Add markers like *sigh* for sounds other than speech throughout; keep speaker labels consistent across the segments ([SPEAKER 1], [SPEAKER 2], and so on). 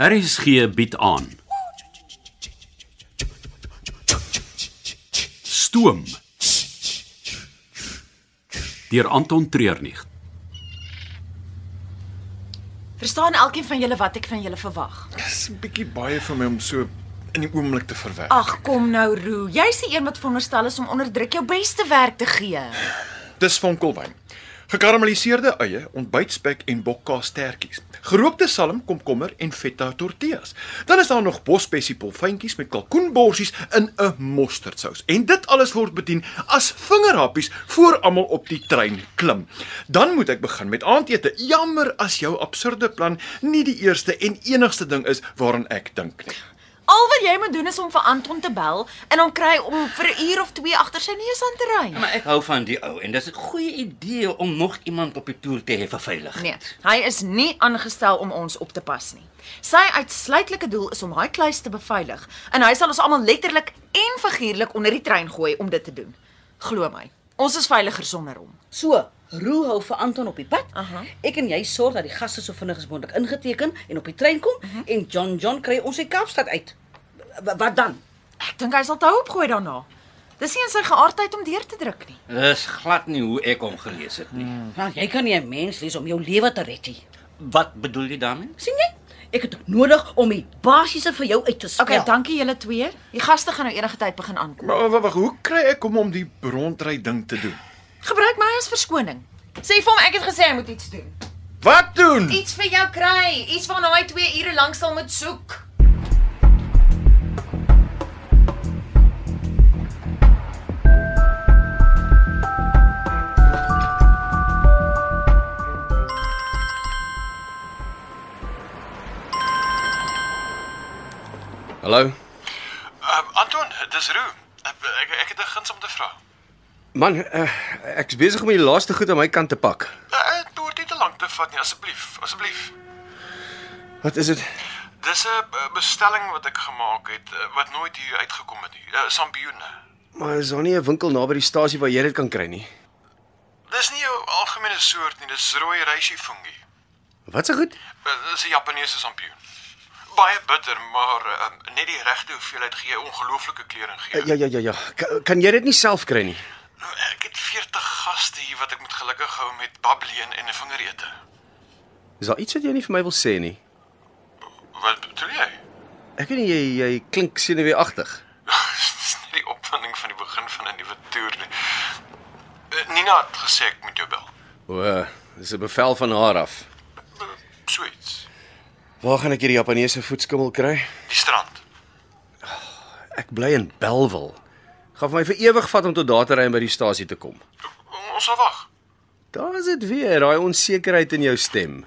[SPEAKER 1] RSG bied aan. Stoom. Deur Anton Treurnig.
[SPEAKER 2] Verstaan elkeen van julle wat ek van julle verwag?
[SPEAKER 3] Dis 'n bietjie baie vir my om so in die oomblik te verwerk.
[SPEAKER 2] Ag, kom nou, Roo. Jy's die een wat veronderstel is om onder druk jou beste werk te gee.
[SPEAKER 3] Dis vonkelwyn. Gekarameliseerde eie, ontbytspek en bokkaastertjies. Gerookte salm, komkommer en feta tortillas. Dan is daar nog bospessie polfyntjies met kalkoenborsies in 'n mosterdsous. En dit alles word bedien as vingerhappies voor almal op die trein klim. Dan moet ek begin met aandete. Jammer as jou absurde plan nie die eerste en enigste ding is waaraan ek dink nie.
[SPEAKER 2] Al wat jy moet doen is om vir Anton te bel en hom kry om vir 'n uur of 2 agter sy neus aan te ry.
[SPEAKER 4] Maar ek hou van die ou en dis 'n goeie idee om nog iemand op die toer te hê vir veiligheid.
[SPEAKER 2] Nee, hy is nie aangestel om ons op te pas nie. Sy uitsluitlike doel is om daai kluis te beveilig en hy sal ons almal letterlik en figuurlik onder die trein gooi om dit te doen. Glo my, ons is veiliger sonder hom.
[SPEAKER 5] So, roe hou vir Anton op die pad. Aha. Ek en jy sorg dat die gaste so vinnig as moontlik ingeteken en op die trein kom en John John kry ons uit Kaapstad uit. W wat dan?
[SPEAKER 2] Ek dink hy sal tou opgooi daarna. Dis nie in sy geaardheid om deur te druk nie.
[SPEAKER 4] Dis glad nie hoe ek hom gelees het nie.
[SPEAKER 5] Want Nou, jy kan nie 'n mens lees om jou lewe te red nie.
[SPEAKER 4] Wat bedoel jy daarmee?
[SPEAKER 5] sien jy? Ek het dit nodig om die basiese vir jou uit te spel.
[SPEAKER 2] Okay, ja. dankie julle twee. Die gaste gaan nou enige tyd begin aankom.
[SPEAKER 3] Maar wag, wag, hoe kry ek hom om die rondry ding te doen?
[SPEAKER 2] Gebruik my as verskoning. Sê vir hom ek het gesê hy moet iets doen.
[SPEAKER 3] Wat doen?
[SPEAKER 2] Iets vir jou kry, iets waarna hy 2 ure lank sal moet soek.
[SPEAKER 6] Hallo.
[SPEAKER 3] Uh, Anton, dis Roo. Ek ek, ek het 'n guns om te vra.
[SPEAKER 6] Man, uh, ek's besig om die laaste goed aan my kant te pak.
[SPEAKER 3] Uh, dit moet nie te lank te vat nie, asseblief, asseblief.
[SPEAKER 6] Wat is dit?
[SPEAKER 3] Dis 'n uh, bestelling wat ek gemaak het uh, wat nooit hier uitgekom het nie. Uh, Sampioene.
[SPEAKER 6] Maar is daar nie 'n winkel naby die stasie waar jy dit kan kry nie?
[SPEAKER 3] Dis nie jou algemene soort nie, dis rooi reishi fungi.
[SPEAKER 6] Wat se goed?
[SPEAKER 3] Uh, dis 'n Japannese sampioen. Baie bitter, maar uh, net die regte hoeveelheid gee 'n ongelooflike kleuring gee.
[SPEAKER 6] Ja ja ja ja. Ka, kan jy dit nie self kry nie?
[SPEAKER 3] Nou, Ek het 40 gaste hier wat ek moet gelukkig hou met babbeleen en 'n vingerete.
[SPEAKER 6] Is daar iets wat jy nie vir my wil sê nie?
[SPEAKER 3] Wat bedoel jy?
[SPEAKER 6] Ek weet nie jy jy klink senuweeagtig.
[SPEAKER 3] Dis net *laughs* die opwinding van die begin van 'n nuwe toer nie. Eh, Nina het gesê ek moet jou bel.
[SPEAKER 6] O, eh, dis 'n bevel van haar af.
[SPEAKER 3] Eh, So iets.
[SPEAKER 6] Waar gaan ek hierdie Japannese voetskimmel kry?
[SPEAKER 3] Die strand.
[SPEAKER 6] Ek bly in Belwel. Gaan vir my vir ewig vat om tot daar te ry en by die stasie te kom.
[SPEAKER 3] Ons sal wag.
[SPEAKER 6] Daar is dit weer, daai onsekerheid in jou stem.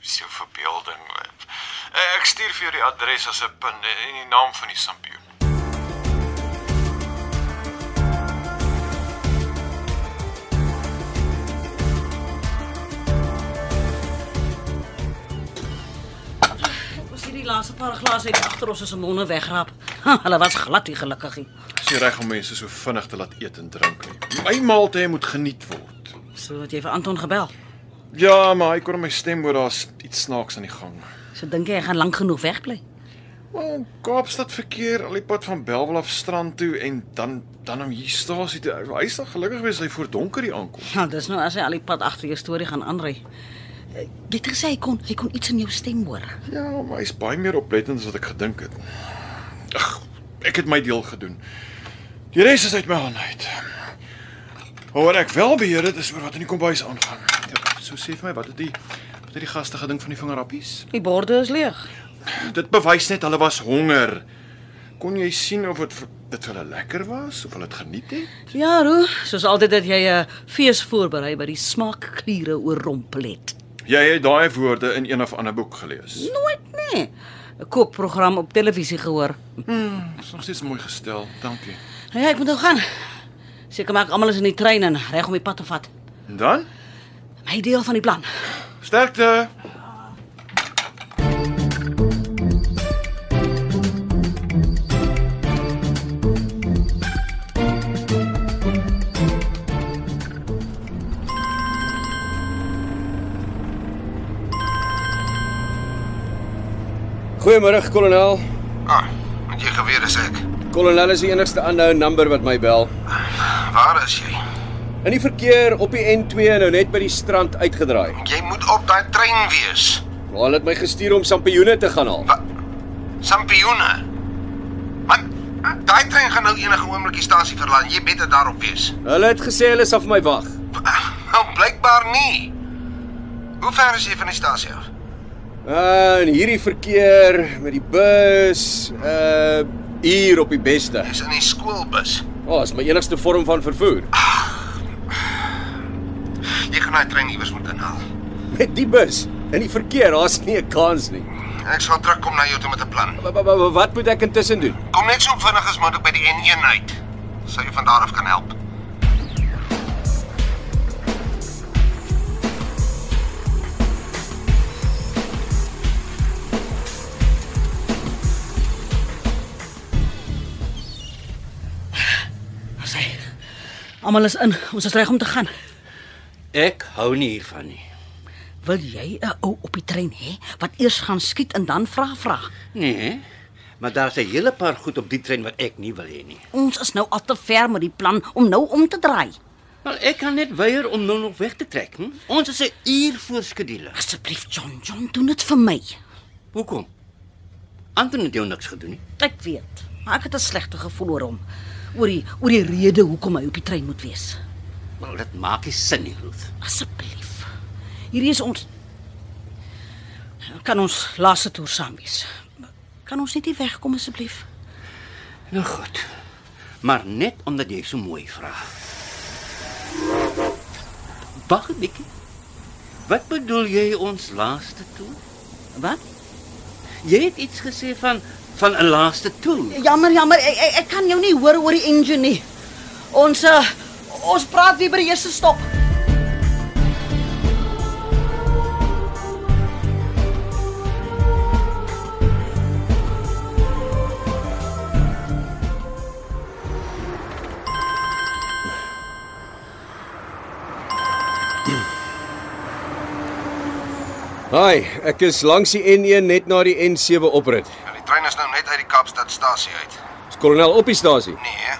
[SPEAKER 3] Dis jou verbeelding. Eh, Ek stuur vir jou die adres as 'n pin en die naam van die sampioen.
[SPEAKER 5] Ons hierdie laaste paar glase uit agter ons is in Londen wegraap. Ha, hulle was glad nie gelukkig nie.
[SPEAKER 3] Dis nie reg om mense so vinnig te laat eet en drink nie. My maaltye moet geniet word.
[SPEAKER 5] So het jy vir Anton gebel.
[SPEAKER 3] Ja, maar ek hoor my stem hoor daar's iets snaaks aan die gang.
[SPEAKER 5] So dink jy hy gaan lank genoeg wegbly?
[SPEAKER 3] Wel, Kaapstad verkeer al die pad van Belwel af strand toe en dan dan om hier stasie toe. Hy sal gelukkig wees as hy voor donker hier aankom.
[SPEAKER 5] Ja, dis nou as hy al die pad agter jou storie gaan aanry. Eh, Jy het gesê hy kon hy kon iets in jou stem hoor.
[SPEAKER 3] Ja, maar hy's baie meer oplettend as wat ek gedink het. Ag, ek het my deel gedoen. Die res is uit my hande uit. Hoor ek wel beheer dit is oor wat in die kombuis aangaan. Ja, so sê vir my, wat het die wat het die gaste gedink van die vingerappies?
[SPEAKER 5] Die borde is leeg.
[SPEAKER 3] Dit bewys net hulle was honger. Kon jy sien of dit vir- dit vir hulle lekker was of hulle dit geniet het?
[SPEAKER 5] Ja, Roo, soos altyd dat jy 'n fees voorberei by die smaakkliere oorrompel het.
[SPEAKER 3] Jy het daai woorde in een of ander boek gelees.
[SPEAKER 5] Nooit nee. 'n Kookprogram op televisie gehoor.
[SPEAKER 3] Dis nog steeds mooi gestel. Dankie.
[SPEAKER 5] Nou Ja, ek moet nou gaan. Seker maak almal is in die trein en reg om die pad te vat.
[SPEAKER 3] En dan?
[SPEAKER 5] My deel van die plan.
[SPEAKER 3] Sterkte.
[SPEAKER 6] Goeiemôre, kolonel.
[SPEAKER 7] Ah, moet jy geweet is ek.
[SPEAKER 6] Kolonel is die enigste unknown number wat my bel.
[SPEAKER 7] Waar is jy?
[SPEAKER 6] In die verkeer op die N2 nou net by die strand uitgedraai.
[SPEAKER 7] Jy moet op daai trein wees.
[SPEAKER 6] Maar hulle het my gestuur om sampioene te gaan haal.
[SPEAKER 7] Wat? Sampioene. Man, daai trein gaan nou enige oomblik die stasie verlaat. Jy beter daarop wees.
[SPEAKER 6] Hulle het gesê hulle sal vir my wag.
[SPEAKER 7] Nou blykbaar nie. Hoe ver is jy van die stasie af?
[SPEAKER 6] Uh, in hierdie verkeer met die bus, uh hier op die beste.
[SPEAKER 7] Dis in die skoolbus.
[SPEAKER 6] O, oh, is my enigste vorm van vervoer.
[SPEAKER 7] Jy gaan daai trein iewers moet inhaal.
[SPEAKER 6] Met die bus in die verkeer, daar's nie 'n kans nie.
[SPEAKER 7] Ek sal terugkom na jou toe met 'n plan.
[SPEAKER 6] Wa- wa- wa- Wat moet ek intussen doen?
[SPEAKER 7] Kom net so vinnig as moontlik by die N1 uit. Sou jy van daar af kan help.
[SPEAKER 5] Sy. Almal is in. Ons is reg om te gaan.
[SPEAKER 4] Ek hou nie hiervan nie.
[SPEAKER 5] Wil jy 'n ou op die trein hê wat eers gaan skiet en dan vra vra?
[SPEAKER 4] Nee. Maar daar's 'n hele paar goed op die trein wat ek nie wil hê nie.
[SPEAKER 5] Ons is nou al te ver met die plan om nou om te draai.
[SPEAKER 4] Maar ek kan net weier om nou nog weg te trek. Hm? Ons is 'n uur voor skedule.
[SPEAKER 5] Asseblief John, John, doen dit vir my.
[SPEAKER 4] Hoekom? Anton het jou niks gedoen nie.
[SPEAKER 5] Ek weet, maar ek het 'n slegte gevoel oor hom. Oor die oor die rede hoekom hy op die trein moet wees.
[SPEAKER 4] Wel, dit maak nie sin nie, Ruth.
[SPEAKER 5] Asseblief. Hierdie is ons kan ons laaste toer saam wees. Kan ons net nie wegkom asseblief?
[SPEAKER 4] Nou goed. Maar net omdat jy so mooi vra. Wag 'n bietjie. Wat bedoel jy ons laaste toer?
[SPEAKER 5] Wat?
[SPEAKER 4] Jy het iets gesê van van 'n laaste toer.
[SPEAKER 5] Jammer, jammer, ek, ek, ek kan jou nie hoor oor die engine nie. Ons eh, ons praat weer by die eerste stop.
[SPEAKER 6] Hi, ek is langs die N1 net na die N7 oprit.
[SPEAKER 7] Nou, die trein is nou net uit die Kaapstad stasie uit.
[SPEAKER 6] Is kolonel op die stasie?
[SPEAKER 7] Nee.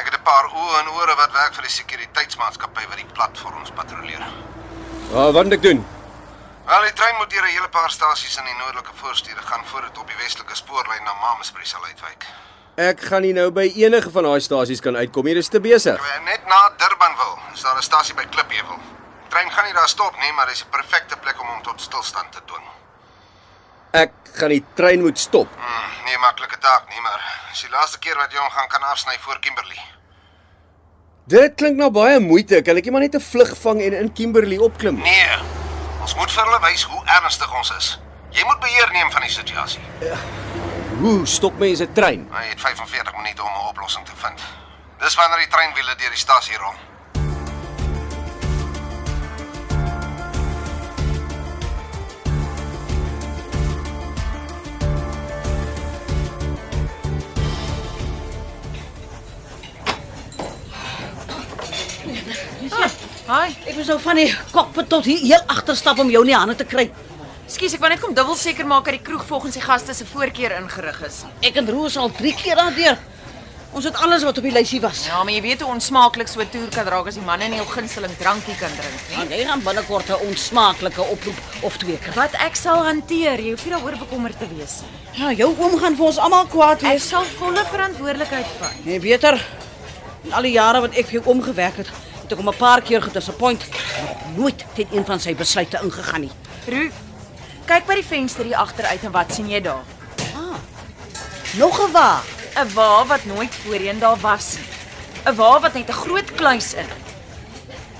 [SPEAKER 7] Ek het 'n paar oë en ore wat werk vir die sekuriteitsmaatskappy wat die platforms patrolleer.
[SPEAKER 6] Ah, wat moet ek doen?
[SPEAKER 7] Wel, die trein moet deur 'n hele paar stasies in die noordelike voorstede gaan voor dit op die westelike spoorlyn na Mamesbury sal uitwyk.
[SPEAKER 6] Ek gaan nie nou by enige van daai stasies kan uitkom nie, dis te besig.
[SPEAKER 7] Net na Durbanville is daar 'n stasie by Klipheuwel. Die trein gaan nie daar stop nie, maar dis 'n perfekte plek om hom tot stilstand te dwing.
[SPEAKER 6] Ek gaan die trein moet stop.
[SPEAKER 7] Hmm, nie 'n maklike taak nie, maar dis die laaste keer wat jy hom gaan kan afsny voor Kimberley.
[SPEAKER 6] Dit klink na baie moeite. Kan ek nie maar net 'n vlug vang en in Kimberley opklim?
[SPEAKER 7] Nee. Ons moet vir hulle wys hoe ernstig ons is. Jy moet beheer neem van die situasie.
[SPEAKER 6] Hoe stop mense 'n trein?
[SPEAKER 7] Maar Jy het 45 minute om 'n oplossing te vind. Dis wanneer die treinwiele deur die stasie rol.
[SPEAKER 2] Hi.
[SPEAKER 5] Ek was nou van die kokpit tot hier heel agterstap om jou in die hande te kry.
[SPEAKER 2] Ekskuus, ek wou net kom dubbel seker maak dat die kroeg volgens die gaste se voorkeur ingerig is.
[SPEAKER 5] Ek en Roos al 3 keer daardeur. Ons het alles wat op die lysie was.
[SPEAKER 2] Ja, maar jy weet hoe onsmaaklik so 'n toer kan raak as die manne nie hul gunsteling drankie kan drink nie.
[SPEAKER 5] En jy gaan binnekort 'n onsmaaklike oproep of twee kry.
[SPEAKER 2] Wat ek sal hanteer, jy hoef nie daaroor bekommerd te wees nie.
[SPEAKER 5] Ja, jou oom gaan vir ons almal kwaad
[SPEAKER 2] Ek
[SPEAKER 5] wees.
[SPEAKER 2] sal volle verantwoordelikheid vat.
[SPEAKER 5] Nee, beter. In al die jare wat ek vir jou omgewerk het, het ek hom 'n paar keer gedisappoint. Nog nooit teen een van sy besluite ingegaan nie.
[SPEAKER 2] Roef. Kyk by die venster hier agter uit en wat sien jy daar?
[SPEAKER 5] Nog 'n wa.
[SPEAKER 2] 'n Wa wat nooit voorheen daar was nie. 'n Wa wat net 'n groot kluis in het.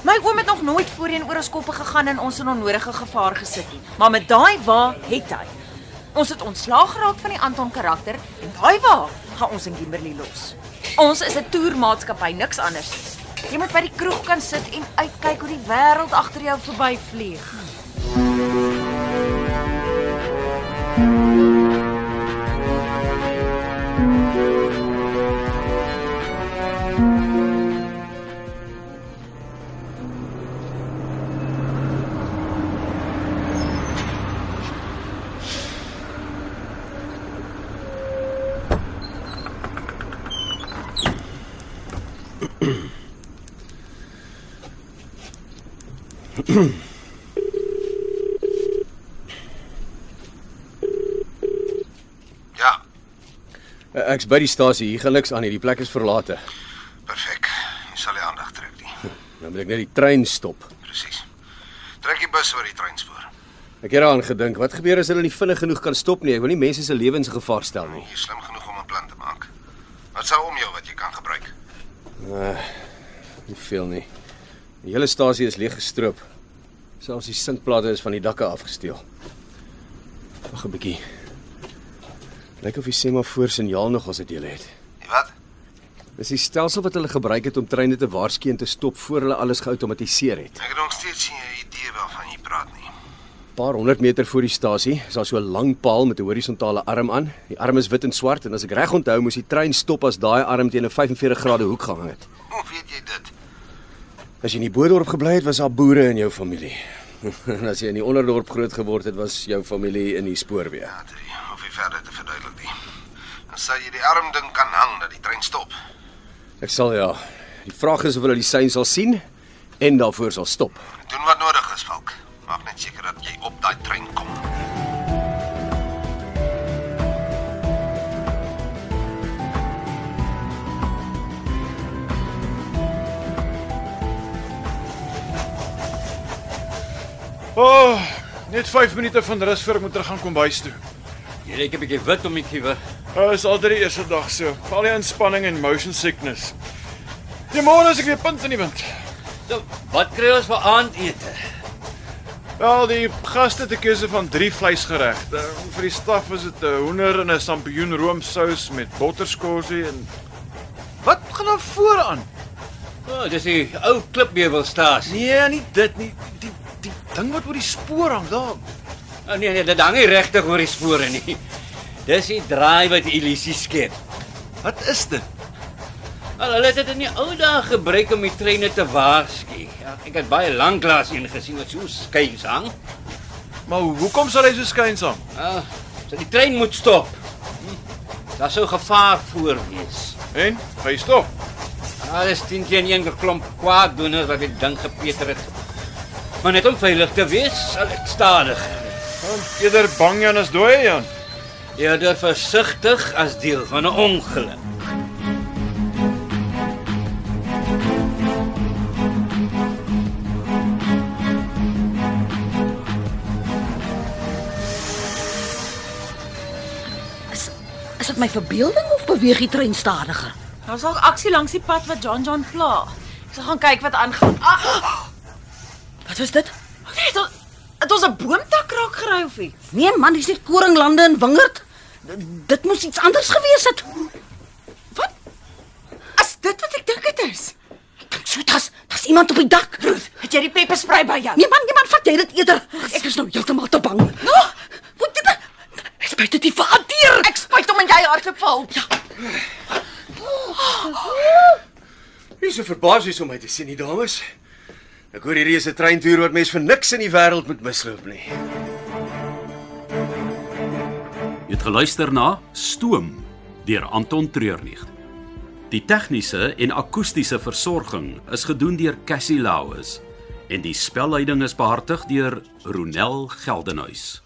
[SPEAKER 2] My oom het nog nooit voorheen oor ons koppe gegaan en ons in onnodige gevaar gesit nie. Maar met daai wa het hy. Ons het ontslaag geraak van die Anton karakter en daai wa gaan ons in Kimberley los. Ons is 'n toermaatskappy, niks anders nie. Jy moet by die kroeg kan sit en uitkyk hoe die wêreld agter jou verbyvlieg.
[SPEAKER 7] Ja,
[SPEAKER 6] Eh, Ek's by die stasie, hier gaan niks aan nie, die plek is verlate.
[SPEAKER 7] perfek. Jy sal nie aandag trek *laughs* nie.
[SPEAKER 6] Nou moet ek net die trein stop.
[SPEAKER 7] Presies. Trek die bus oor die treinspoor.
[SPEAKER 6] Ek het daaraan gedink, wat gebeur as hulle nie vinnig genoeg kan stop nie? Ek wil nie mense se lewens in gevaar stel nie.
[SPEAKER 7] Jy is slim genoeg om 'n plan te maak. Wat sou om jou wat jy kan gebruik?
[SPEAKER 6] Nie veel nie. Die hele stasie is leeg gestroop. Selfs die sinkplate is van die dakke afgesteel. Wag 'n bietjie. Lyk of die semafoor signaal nog ons het deel het.
[SPEAKER 7] Jy wat?
[SPEAKER 6] Dis die stelsel wat hulle gebruik het om treine te waarsku en te stop voor hulle alles geoutomatiseer het.
[SPEAKER 7] Ek het nog steeds nie 'n idee waarvan jy praat nie.
[SPEAKER 6] paar 100 meter voor die stasie is daar so 'n lang paal met 'n horisontale arm aan. Die arm is wit en swart en as ek reg onthou, moes die trein stop as daai arm teen 'n 45 grade hoek gehang het.
[SPEAKER 7] Hoe weet jy dit?
[SPEAKER 6] As jy in die Boedorp gebly het, was daar boere in jou familie. *laughs* En as jy in die onderdorp groot geword het, was jou familie in die spoorweë.
[SPEAKER 7] Ja, Drie, hoef jy verder te verduidelik nie. Dan sal jy die arm ding kan hang dat die trein stop.
[SPEAKER 6] Ek sal ja. Die vraag is of hulle die sein sal sien en daarvoor sal stop.
[SPEAKER 7] Doen wat nodig is, Falk. Maak net seker dat jy op daai trein kom.
[SPEAKER 3] O, oh, net 5 minute van rus voor ek moet terug gaan kom bys toe.
[SPEAKER 4] Jy lyk 'n bietjie wit om die kiewe.
[SPEAKER 3] Uh, is al drie eerste dag so. Al die inspanning en motion sickness. Die môre is ek weer punt in die wind.
[SPEAKER 4] So, Nou, wat kry ons vir aandete?
[SPEAKER 3] Wel, die gaste te keuse van drie vleisgeregte. Vir die staf is dit 'n hoender en 'n sampioen roomsous met botterskorsie en Wat gaan daar vooraan?
[SPEAKER 4] O, oh, dis die ou klipmeubelstasie.
[SPEAKER 3] Nee, nie dit nie. Die die ding wat oor die spoor hang daar.
[SPEAKER 4] Oh, nee nee, dit hang nie regtig oor die spore nie. Dis die draai wat die illusie skep.
[SPEAKER 3] Wat is dit?
[SPEAKER 4] Al hulle het dit in die ou dae gebruik om die treine te waarsku. Ja, ek het baie lank lank een gesien wat so skuins hang.
[SPEAKER 3] Maar hoekom sal hy so skuins hang?
[SPEAKER 4] Ah, so die trein moet stop. Hm, Daar sou gevaar voor wees.
[SPEAKER 3] En hy stop.
[SPEAKER 4] Ah, dis 10 teen 1 geklomp kwaaddoeners wat die ding gepeter het. Maar net om veilig te wees, sal ek stadig.
[SPEAKER 3] Dan eerder bang Jan as dooi Jan.
[SPEAKER 4] Eerder versigtig as deel van 'n ongeluk.
[SPEAKER 5] Is is dit my verbeelding of beweeg die trein stadiger?
[SPEAKER 2] Daar's dalk aksie langs die pad wat John John pla. Ek sal gaan kyk wat aangaan. Ah, Ag,
[SPEAKER 5] Wat was dit?
[SPEAKER 2] het ons het ons 'n boomtak raak gery of iets?
[SPEAKER 5] Nee man, dis net koringlande en wingerd. D- Dit moes iets anders gewees het.
[SPEAKER 2] Is dit wat ek dink dit is?
[SPEAKER 5] Kyk, so daar's daar's iemand op die dak. Ruth,
[SPEAKER 2] Het jy die pepperspray by jou?
[SPEAKER 5] nee man, nee man, vat jy dit eerder. Ek is nou heeltemal te bang. No!
[SPEAKER 2] Nou,
[SPEAKER 5] Wat dit? Ek spyt dit nie vir hanteer.
[SPEAKER 2] Ek spyt hom en jy hardloop vir hulp. Ja.
[SPEAKER 6] Wie so verbaas is om my te sien, die dames. Ek hoor hierdie is 'n treintoer wat mense vir niks in die wêreld moet misloop nie.
[SPEAKER 1] Jy het geluister na Stoom deur Anton Treurnig. Die tegniese en akoestiese versorging is gedoen deur Cassie Lauis en die spelleiding is behartig deur Ronel Geldenhuys.